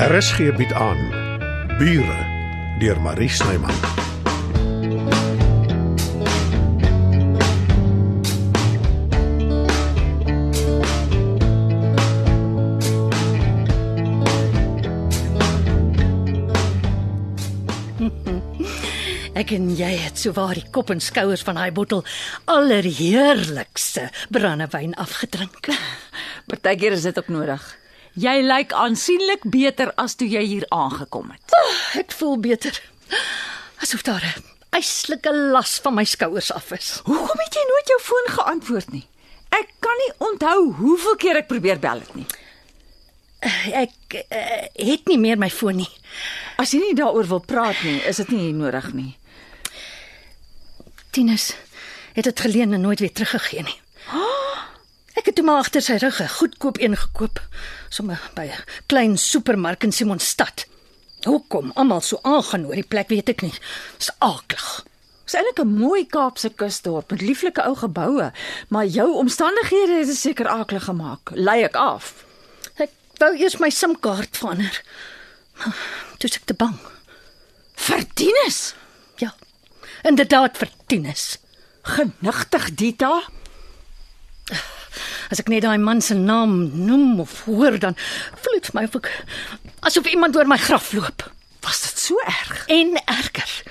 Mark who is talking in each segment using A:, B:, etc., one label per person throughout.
A: RSG bied aan Bure deur Marie Snyman.
B: Ek en jy het souwaar die kop en skouers van daai bottel allerheerlikste brandewyn afgedrink.
C: Partykeer is dit ook nodig. Jy lyk aansienlik beter as toe jy hier aangekom het.
B: Ek voel beter. Asof daar 'n yslike las van my skouers af is.
C: Hoekom het jy nooit jou foon geantwoord nie? Ek kan nie onthou hoeveel keer ek probeer bel het nie.
B: Ek uh, het nie meer my foon nie.
C: As jy nie daaroor wil praat nie, is dit nie nodig nie.
B: Tinus het dit geleen en nooit weer teruggegee nie. Ek het toe maar agter sy rug 'n goedkoop een gekoop, sommer by 'n klein supermark in Simonstad. Hoekom almal so aangaan oor die plek weet ek nie. Dis aaklig.
C: Dis eintlik 'n mooi Kaapse kusdorp met lieflike ou geboue, maar jou omstandighede het dit seker akelig gemaak. Lei ek af.
B: Ek wou eers my SIM-kaart verander. Toe is ek te bang.
C: Verdienis.
B: Ja. Inderdaad vertienis.
C: Genigtig, Dita.
B: As ek net daai man se naam noem of hoor dan voel dit vir my of ek asof iemand oor my graf loop
C: Was dit so erg?
B: en erger.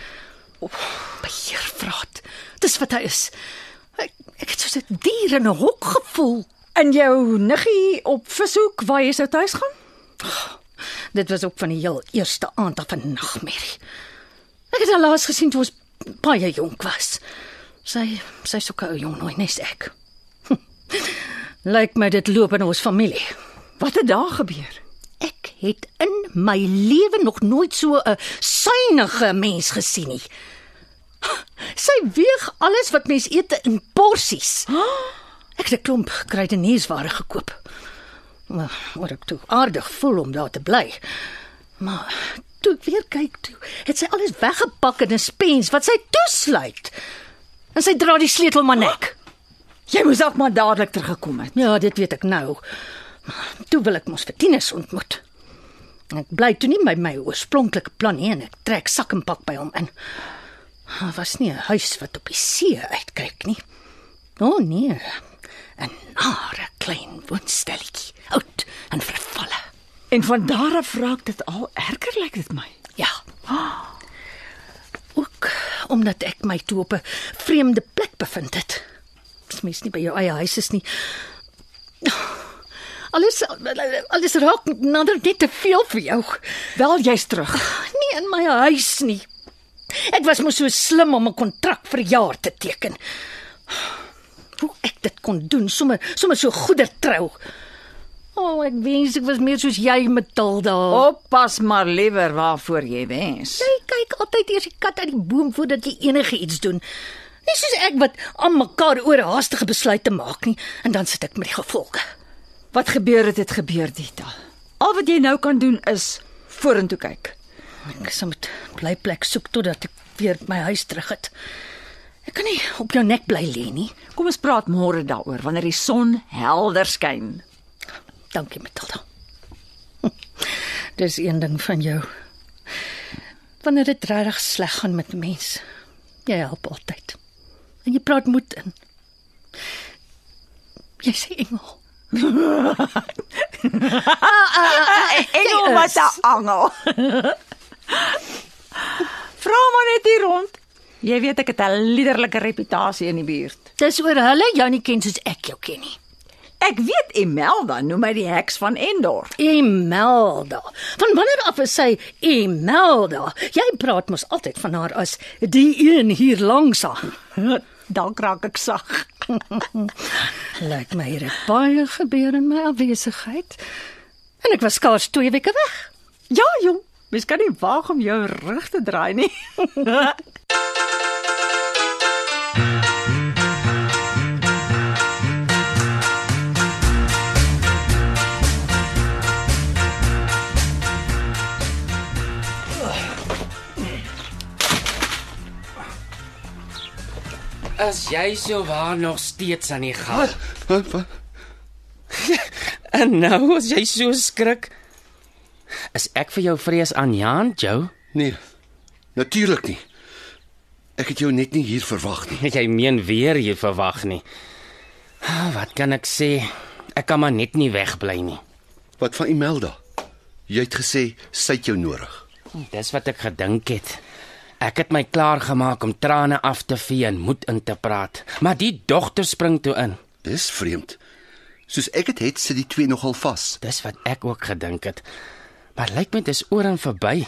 B: Oh, beheervraat. Dis wat hy is. Ek, ek het soos 'n dier in 'n hok gevoel.
C: In jou niggie op vishoek waar jy sou tuis gaan?
B: Dit was ook van die heel eerste aand af 'n nagmerrie. Ek het haar laas gesien toe ons baie jonk was. Sy sy soek 'n ou jong nooi nes ek. Lyk my dit loop in ons familie.
C: Wat het daar gebeur?
B: Ek het in my lewe nog nooit so 'n suiwige mens gesien nie. Sy weeg alles wat mens eet in porsies. Ek het 'n klomp kruideniersware gekoop. Maar oor ek toe aardig voel om daar te bly. Maar toe ek weer kyk toe, het sy alles weggepak in 'n spens wat sy toesluit. En sy dra die sleutel maar nek.
C: Jy moes dalk maar dadelik teruggekom het. Nee,
B: Ja, dit weet ek nou. Maar toe wil ek mos vir Tinus ontmoet. En Ek bly toe nie by my oorspronklike plan nie en ek trek sak en pak by hom in. Daar was nie 'n huis wat op die see uitkyk nie. O oh, nee. 'n Nare klein woonstelletjie, oud en vervalle.
C: En van daar af raak dit al erger lyk dit my.
B: Ja. Ook omdat ek my toe op 'n vreemde plek bevind het. Dis mens nie by jou eie huis is nie. Alles alles raak nader net te veel vir jou.
C: Wel jy's terug.
B: Nie in my huis nie. Ek was mos so slim om 'n kontrak vir jaar te teken. Hoe ek dit kon doen, sommer sommer so goeder trou. O, oh, ek wens ek was meer soos jy, Matilda. Oh,
C: Oppas maar liewer waarvoor jy wens.
B: Jy kyk altyd eers die kat uit die boom voordat jy enige iets doen. Nie soos ek wat aan mekaar oor haastige besluite maak nie en dan sit ek met die gevolge.
C: Wat gebeur het, het gebeur Dita. Al wat jy nou kan doen is vorentoe kyk.
B: Ek sal moet bly plek soek totdat ek weer my huis terug het. Ek kan nie op jou nek bly lê nie.
C: Kom ons praat môre daaroor wanneer die son helder skyn.
B: Dankie, Matilda. Hm, Dis een ding van jou. Wanneer dit regtig sleg gaan met 'n mens, jy help altyd. En jy praat moed in. Jy sê engel.
C: Engel
B: was
C: 'n angel. Vra maar net hier rond. Jy weet ek het 'n liderlike reputasie in die buurt.
B: Dis oor hulle jou nie ken soos ek jou ken nie.
C: Ek weet Imelda noem my die heks van Endor.
B: Imelda. Van wanneer af is sy Imelda? Jy praat mos altyd van haar as die een hier langs aan.
C: Dalk raak ek sag.
B: Lyk my hier het baie gebeur in my afwesigheid. En ek was skaars 2 weke weg.
C: Ja, jong, mens kan nie waag om jou rug te draai nie.
D: As jy so waar nog steeds aan die gang.
E: Wat? wat?
D: En nou as jy so skrik. Is ek vir jou vrees aan Jan, Jo?
E: Nee. Natuurlik nie. Ek het jou net nie hier verwag nie.
D: Jy meen weer jy verwag nie. Ah, Wat kan ek sê? Ek kan maar net nie wegbly nie.
E: Wat van Imelda? Jy het gesê sy het jou nodig.
D: Dis wat ek gedink het. Ek het my klaar gemaak om trane af te vee en moed in te praat, maar die dogter spring toe in.
E: Dis vreemd. Soos ek dit het, sit die twee nogal vas.
D: Dis wat ek ook gedink het. Maar lyk my dit is oor en verby.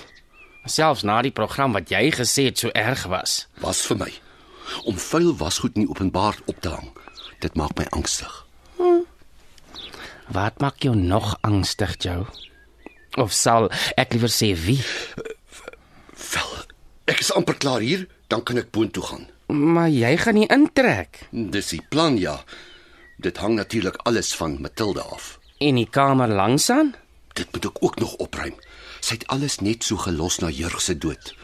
D: Selfs na die program wat jy gesê het so erg was.
E: Was vir my om vuil wasgoed nie openbaar op te hang. Dit maak my angstig.
D: Wat maak jou nog angstig, Jo? Of sal ek liewer sê wie?
E: Wel, ek is amper klaar hier, dan kan ek boontoe gaan.
D: Maar jy gaan nie intrek
E: Dis die plan ja. Dit hang natuurlik alles van Matilda af.
D: en die kamer langsaan?
E: Dit moet ek ook nog opruim. Sy het alles net so gelos na Jurg se dood.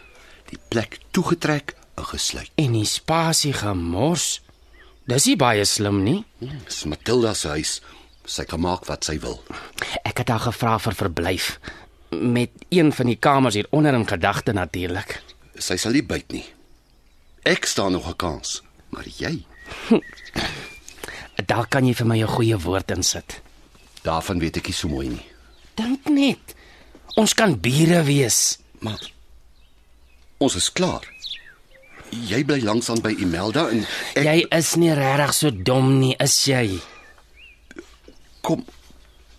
E: Die plek toegetrek en gesluit.
D: en die spasie gemors. Dis nie baie slim nie.
E: Hmm, Dis Matilda se huis. Sy kan maak wat sy wil.
D: Ek het haar gevra vir verblyf met een van die kamers hieronder in gedagte natuurlik.
E: Sy sal nie byt nie. Ek staan nog 'n kans, maar jy,
D: Daar kan jy vir my 'n goeie woord insit.
E: daarvan weet ek nie so mooi nie.
D: Dink net. Ons kan bure wees.
E: Maar ons is klaar. Jy bly langs aan by Imelda en ek
D: Jy is nie regtig so dom nie, is jy?
E: kom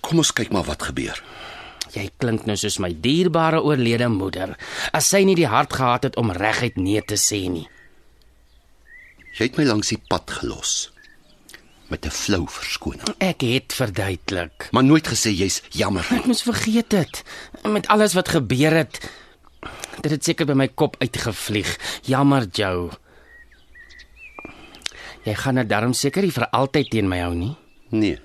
E: kom ons kyk maar wat gebeur.
D: Jy klink nou soos my dierbare oorlede moeder, as sy nie die hart gehad het om reguit nee te sê nie.
E: Jy het my langs die pad gelos met 'n flou verskoning,
D: Ek het verduidelik.
E: maar nooit gesê jy's jammer nie.
D: Ek moes vergeet het met alles wat gebeur het. Dit het seker by my kop uitgevlieg. Jammer, Jou. Jy gaan dit darm seker nie vir altyd teen my hou nie.
E: Nee.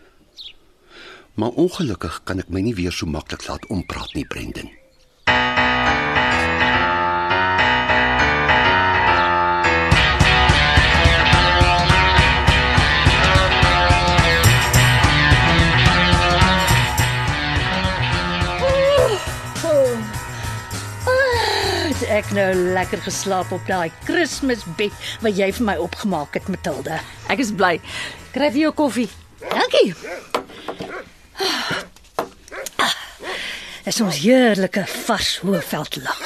E: Maar ongelukkig kan ek my nie weer so maklik laat ompraat nie, Brendan.
B: Het ek nou lekker geslaap op daai Kersbed wat jy vir my opgemaak het, Matilda.
C: Ek is bly. Kry vir jou koffie.
B: Dankie. Ah. Dis ons heerlike vars hoëveld lag.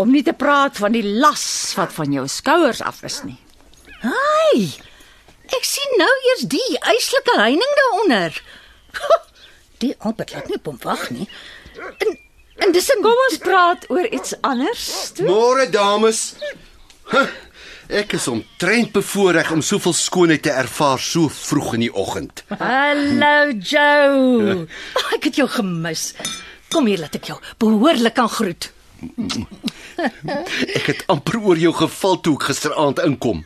C: Om nie te praat van die las wat van jou skouers af is nie.
B: Ai! Ek sien nou eers die yslike heining daaronder. Die Albert laat nie op hom wag nie. En en dis 'n
C: Kom ons praat oor iets anders. toe.
E: Môre dames. Huh, ek is omtrent bevoorreg om soveel skoonheid te ervaar so vroeg in die oggend.
B: Hallo Joe. Oh, ek het jou gemis. Kom hier laat ek jou behoorlik kan groet.
E: Ek het amper oor jou geval toe ek gisteraand inkom.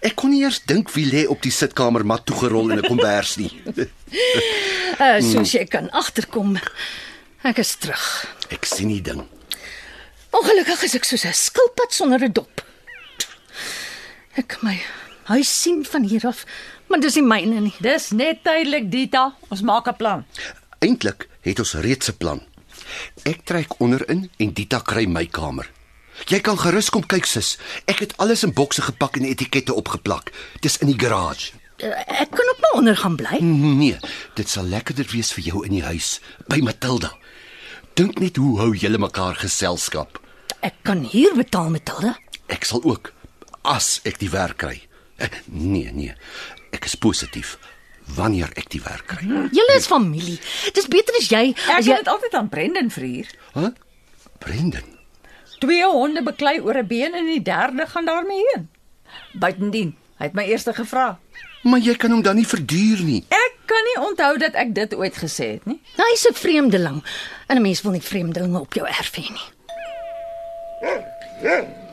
E: Ek kon nie eers dink wie lê op die sitkamermat toegerol in 'n kombers nie.
B: Uh, soos jy kan agterkom, ek is terug.
E: Ek sien die ding.
B: Ongelukkig is ek soos 'n skilpad sonder 'n dop. Ek kan my huis sien van hier af, maar dis nie myne nie.
C: Dis net tydelik, Dita. Ons maak 'n plan.
E: Eintlik het ons reeds 'n plan. Ek trek onderin en Dita kry my kamer. Jy kan gerus kom kyk sis. Ek het alles in bokse gepak en etikette opgeplak. Dis in die garage.
B: Uh, Ek kan ook maar onder gaan bly.
E: Nee, dit sal lekkerder wees vir jou in die huis by Matilda. Dink net hoe hou julle mekaar geselskap.
B: Ek kan hier betaal, Matilda.
E: Ek sal ook as ek die werk kry. Eh, Nee, nee. Ek is positief wanneer ek die werk kry.
B: Julle is familie. Dis beter as jy
C: Ek
B: as
C: het
B: jy
C: dit altyd aan Brendan verhuur.
E: Hæ? Brendan.
C: Twee honde beklei oor 'n been en die derde gaan daarmee heen. Buitendien, hy het my eers gevra.
E: Maar jy kan hom dan nie verduur nie.
C: Ek kan nie onthou dat ek dit ooit gesê het nie.
B: Nou, hy's 'n vreemdeling en 'n mens wil nie vreemdelinge op jou erf hê nie.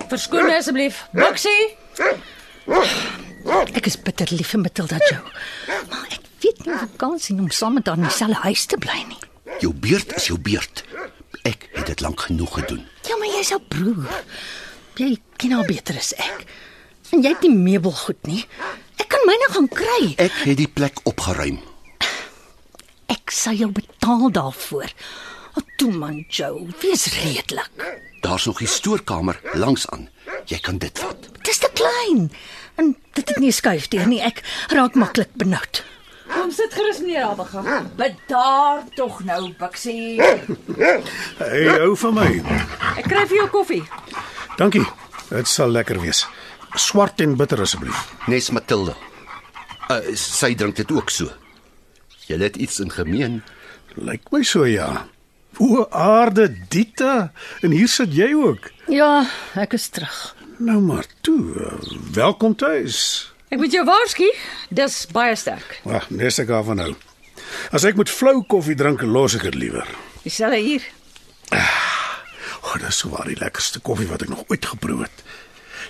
C: Verskoon my asseblief. Boxie,
B: Ek is bitter lief vir Matilda Joe. Maar ek weet nie of ek kan sien om saam met haar in dieselfde huis te bly nie.
E: Jou beurt is jou beurt. Ek het dit lank genoeg gedoen.
B: Ja, maar jy's haar broer. Jy ken haar beter as ek. En jy het nie meubelgoed nie. Ek kan myne gaan kry.
E: Ek het die plek opgeruim.
B: Ek sal jou betaal daarvoor. Wat doen man Joe? Wees redelik.
E: Daar's nog die stoorkamer langs aan. Jy kan dit vat.
B: Dis te klein. En dit het nie skuif deur nie. Ek raak maklik benoud.
C: Kom sit gerus neer, Abigail. Bedaar tog nou, Bixie.
A: Hey, hou van my.
C: Ek kry vir jou koffie.
A: Dankie. Dit sal lekker wees. Swart en bitter asseblief.
E: Nes Matilda. Uh, sy drink dit ook so. Julle het iets in gemeen.
A: Lyk my so ja. O aarde Dita, en hier sit jy ook.
B: Ja, ek is terug.
A: Nou maar toe. eh, Welkom tuis.
C: Ek moet jou waarsku, dis baie sterk.
A: Wag, nes ek af van nou. As ek moet flou koffie drink, los ek dit liewer.
C: Dieselfde hier.
A: O, dis so waar die lekkerste koffie wat ek nog ooit geproe het.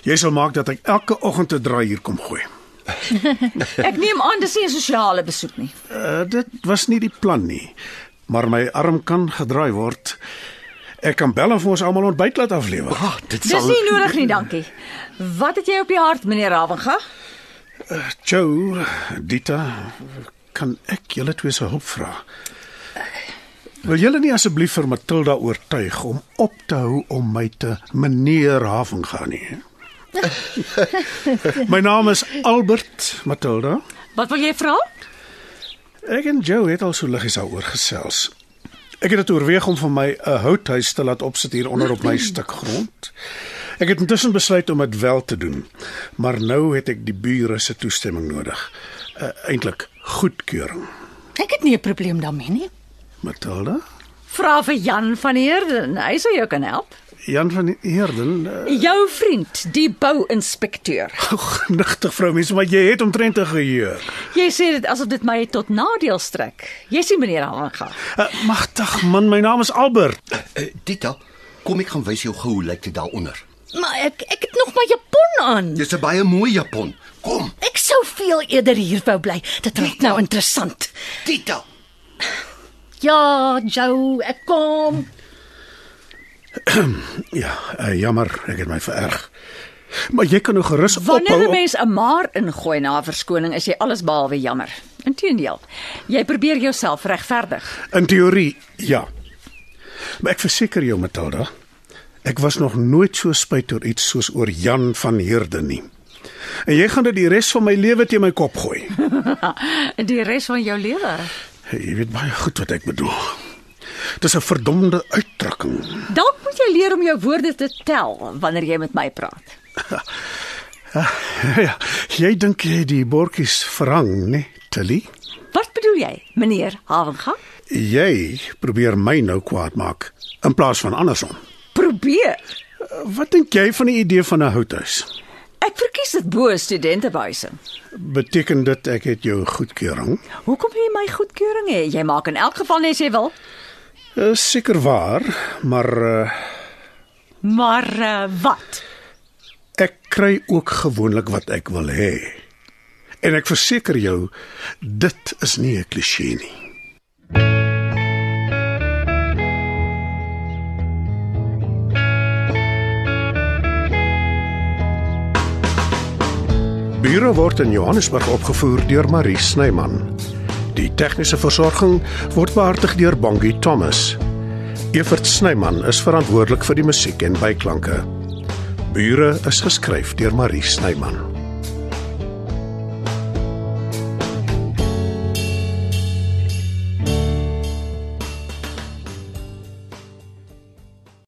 A: Jy sal maak dat ek elke oggend 'n draai hier kom gooi.
C: Ek neem aan dis nie 'n sosiale besoek nie.
A: Uh, dit was nie die plan nie. Maar my arm kan gedraai word. Ek kan bel of ons almal ontbyt laat aflewer.
E: Ah, dit
C: Dis
E: sal
C: nie nodig nie, dankie. Wat het jy op die hart, meneer Ravenga?
A: Joe, Dita, kan ek julle twee se hulp vra? Wil julle nie asseblief vir Matilda oortuig om op te hou om my te meneer Havenga nie? my naam is Albert Matilda.
C: Wat wil jy vra?
A: Ek en Joe het al so liggies daaroor gesels. Ek het dit oorweeg om vir my 'n houthuis te laat opsit hier onder op my stuk grond. Ek het intussen besluit om dit wel te doen, maar nou het ek die bure se toestemming nodig. Uh, Eintlik goedkeuring.
B: Ek het nie 'n probleem daarmee nie.
A: Matilda?
C: Vra vir Jan van Heerden, hy sou jou kan help.
A: Jan van Heerden, uh,
C: Jou vriend, die bouinspekteur.
A: nigtig vrou mens, maar jy het omtrent 'n geheue.
C: Jy sê dit asof dit my tot nadeel strek. Jy sien meneer Ravenga.
A: Uh, Magtig man, my naam is Albert.
E: Uh, Dita, kom ek gaan wys jou gou hoe lyk dit daaronder.
B: Maar ek ek het nog my Japon aan.
E: Dis 'n baie mooi Japon. Kom,
B: Ek sou veel eerder hier wou bly. Dit raak nou interessant.
E: Dita.
B: Ja, Joe, ek kom.
A: Ja, uh, jammer, ek het my vererg. Maar jy kan nou gerus
C: Wanneer
A: ophou
C: 'n
A: om-
C: mens 'n maar ingooi na 'n verskoning, is jy alles behalwe jammer. Inteendeel, jy probeer jouself regverdig.
A: In teorie, ja. Maar ek verseker jou, Matilda, ek was nog nooit so spyt oor iets soos oor Jan van Heerden nie. En jy gaan dit die res van my lewe teen my kop gooi.
C: Die res van jou lewe.
A: jy weet baie goed wat ek bedoel. Dis 'n verdomde uitdrukking.
C: Dalk moet jy leer om jou woorde te tel wanneer jy met my praat.
A: Ja, jy dink jy het die bordjies verhang, né, Tilly?
C: Wat bedoel jy, meneer Havenga?
A: Jy probeer my nou kwaad maak in plaas van andersom.
C: Probeer.
A: Wat dink jy van die idee van 'n houthuis?
C: Ek verkies dit bo studentehuise.
A: Beteken dit ek het jou goedkeuring?
C: Hoekom wil jy my goedkeuring hê? Jy maak in elk geval net as jy wil.
A: Eh, Seker waar, maar uh,
C: Maar uh, wat?
A: ek kry ook gewoonlik wat ek wil hê. En ek verseker jou, dit is nie 'n klise nie. Bure word in Johannesburg opgevoer deur Marie Snyman. Die tegniese versorging word behartig deur Bongie Thomas. Evert Snyman is verantwoordelik vir die musiek en byklanke. Bure is geskryf deur Marie Snyman.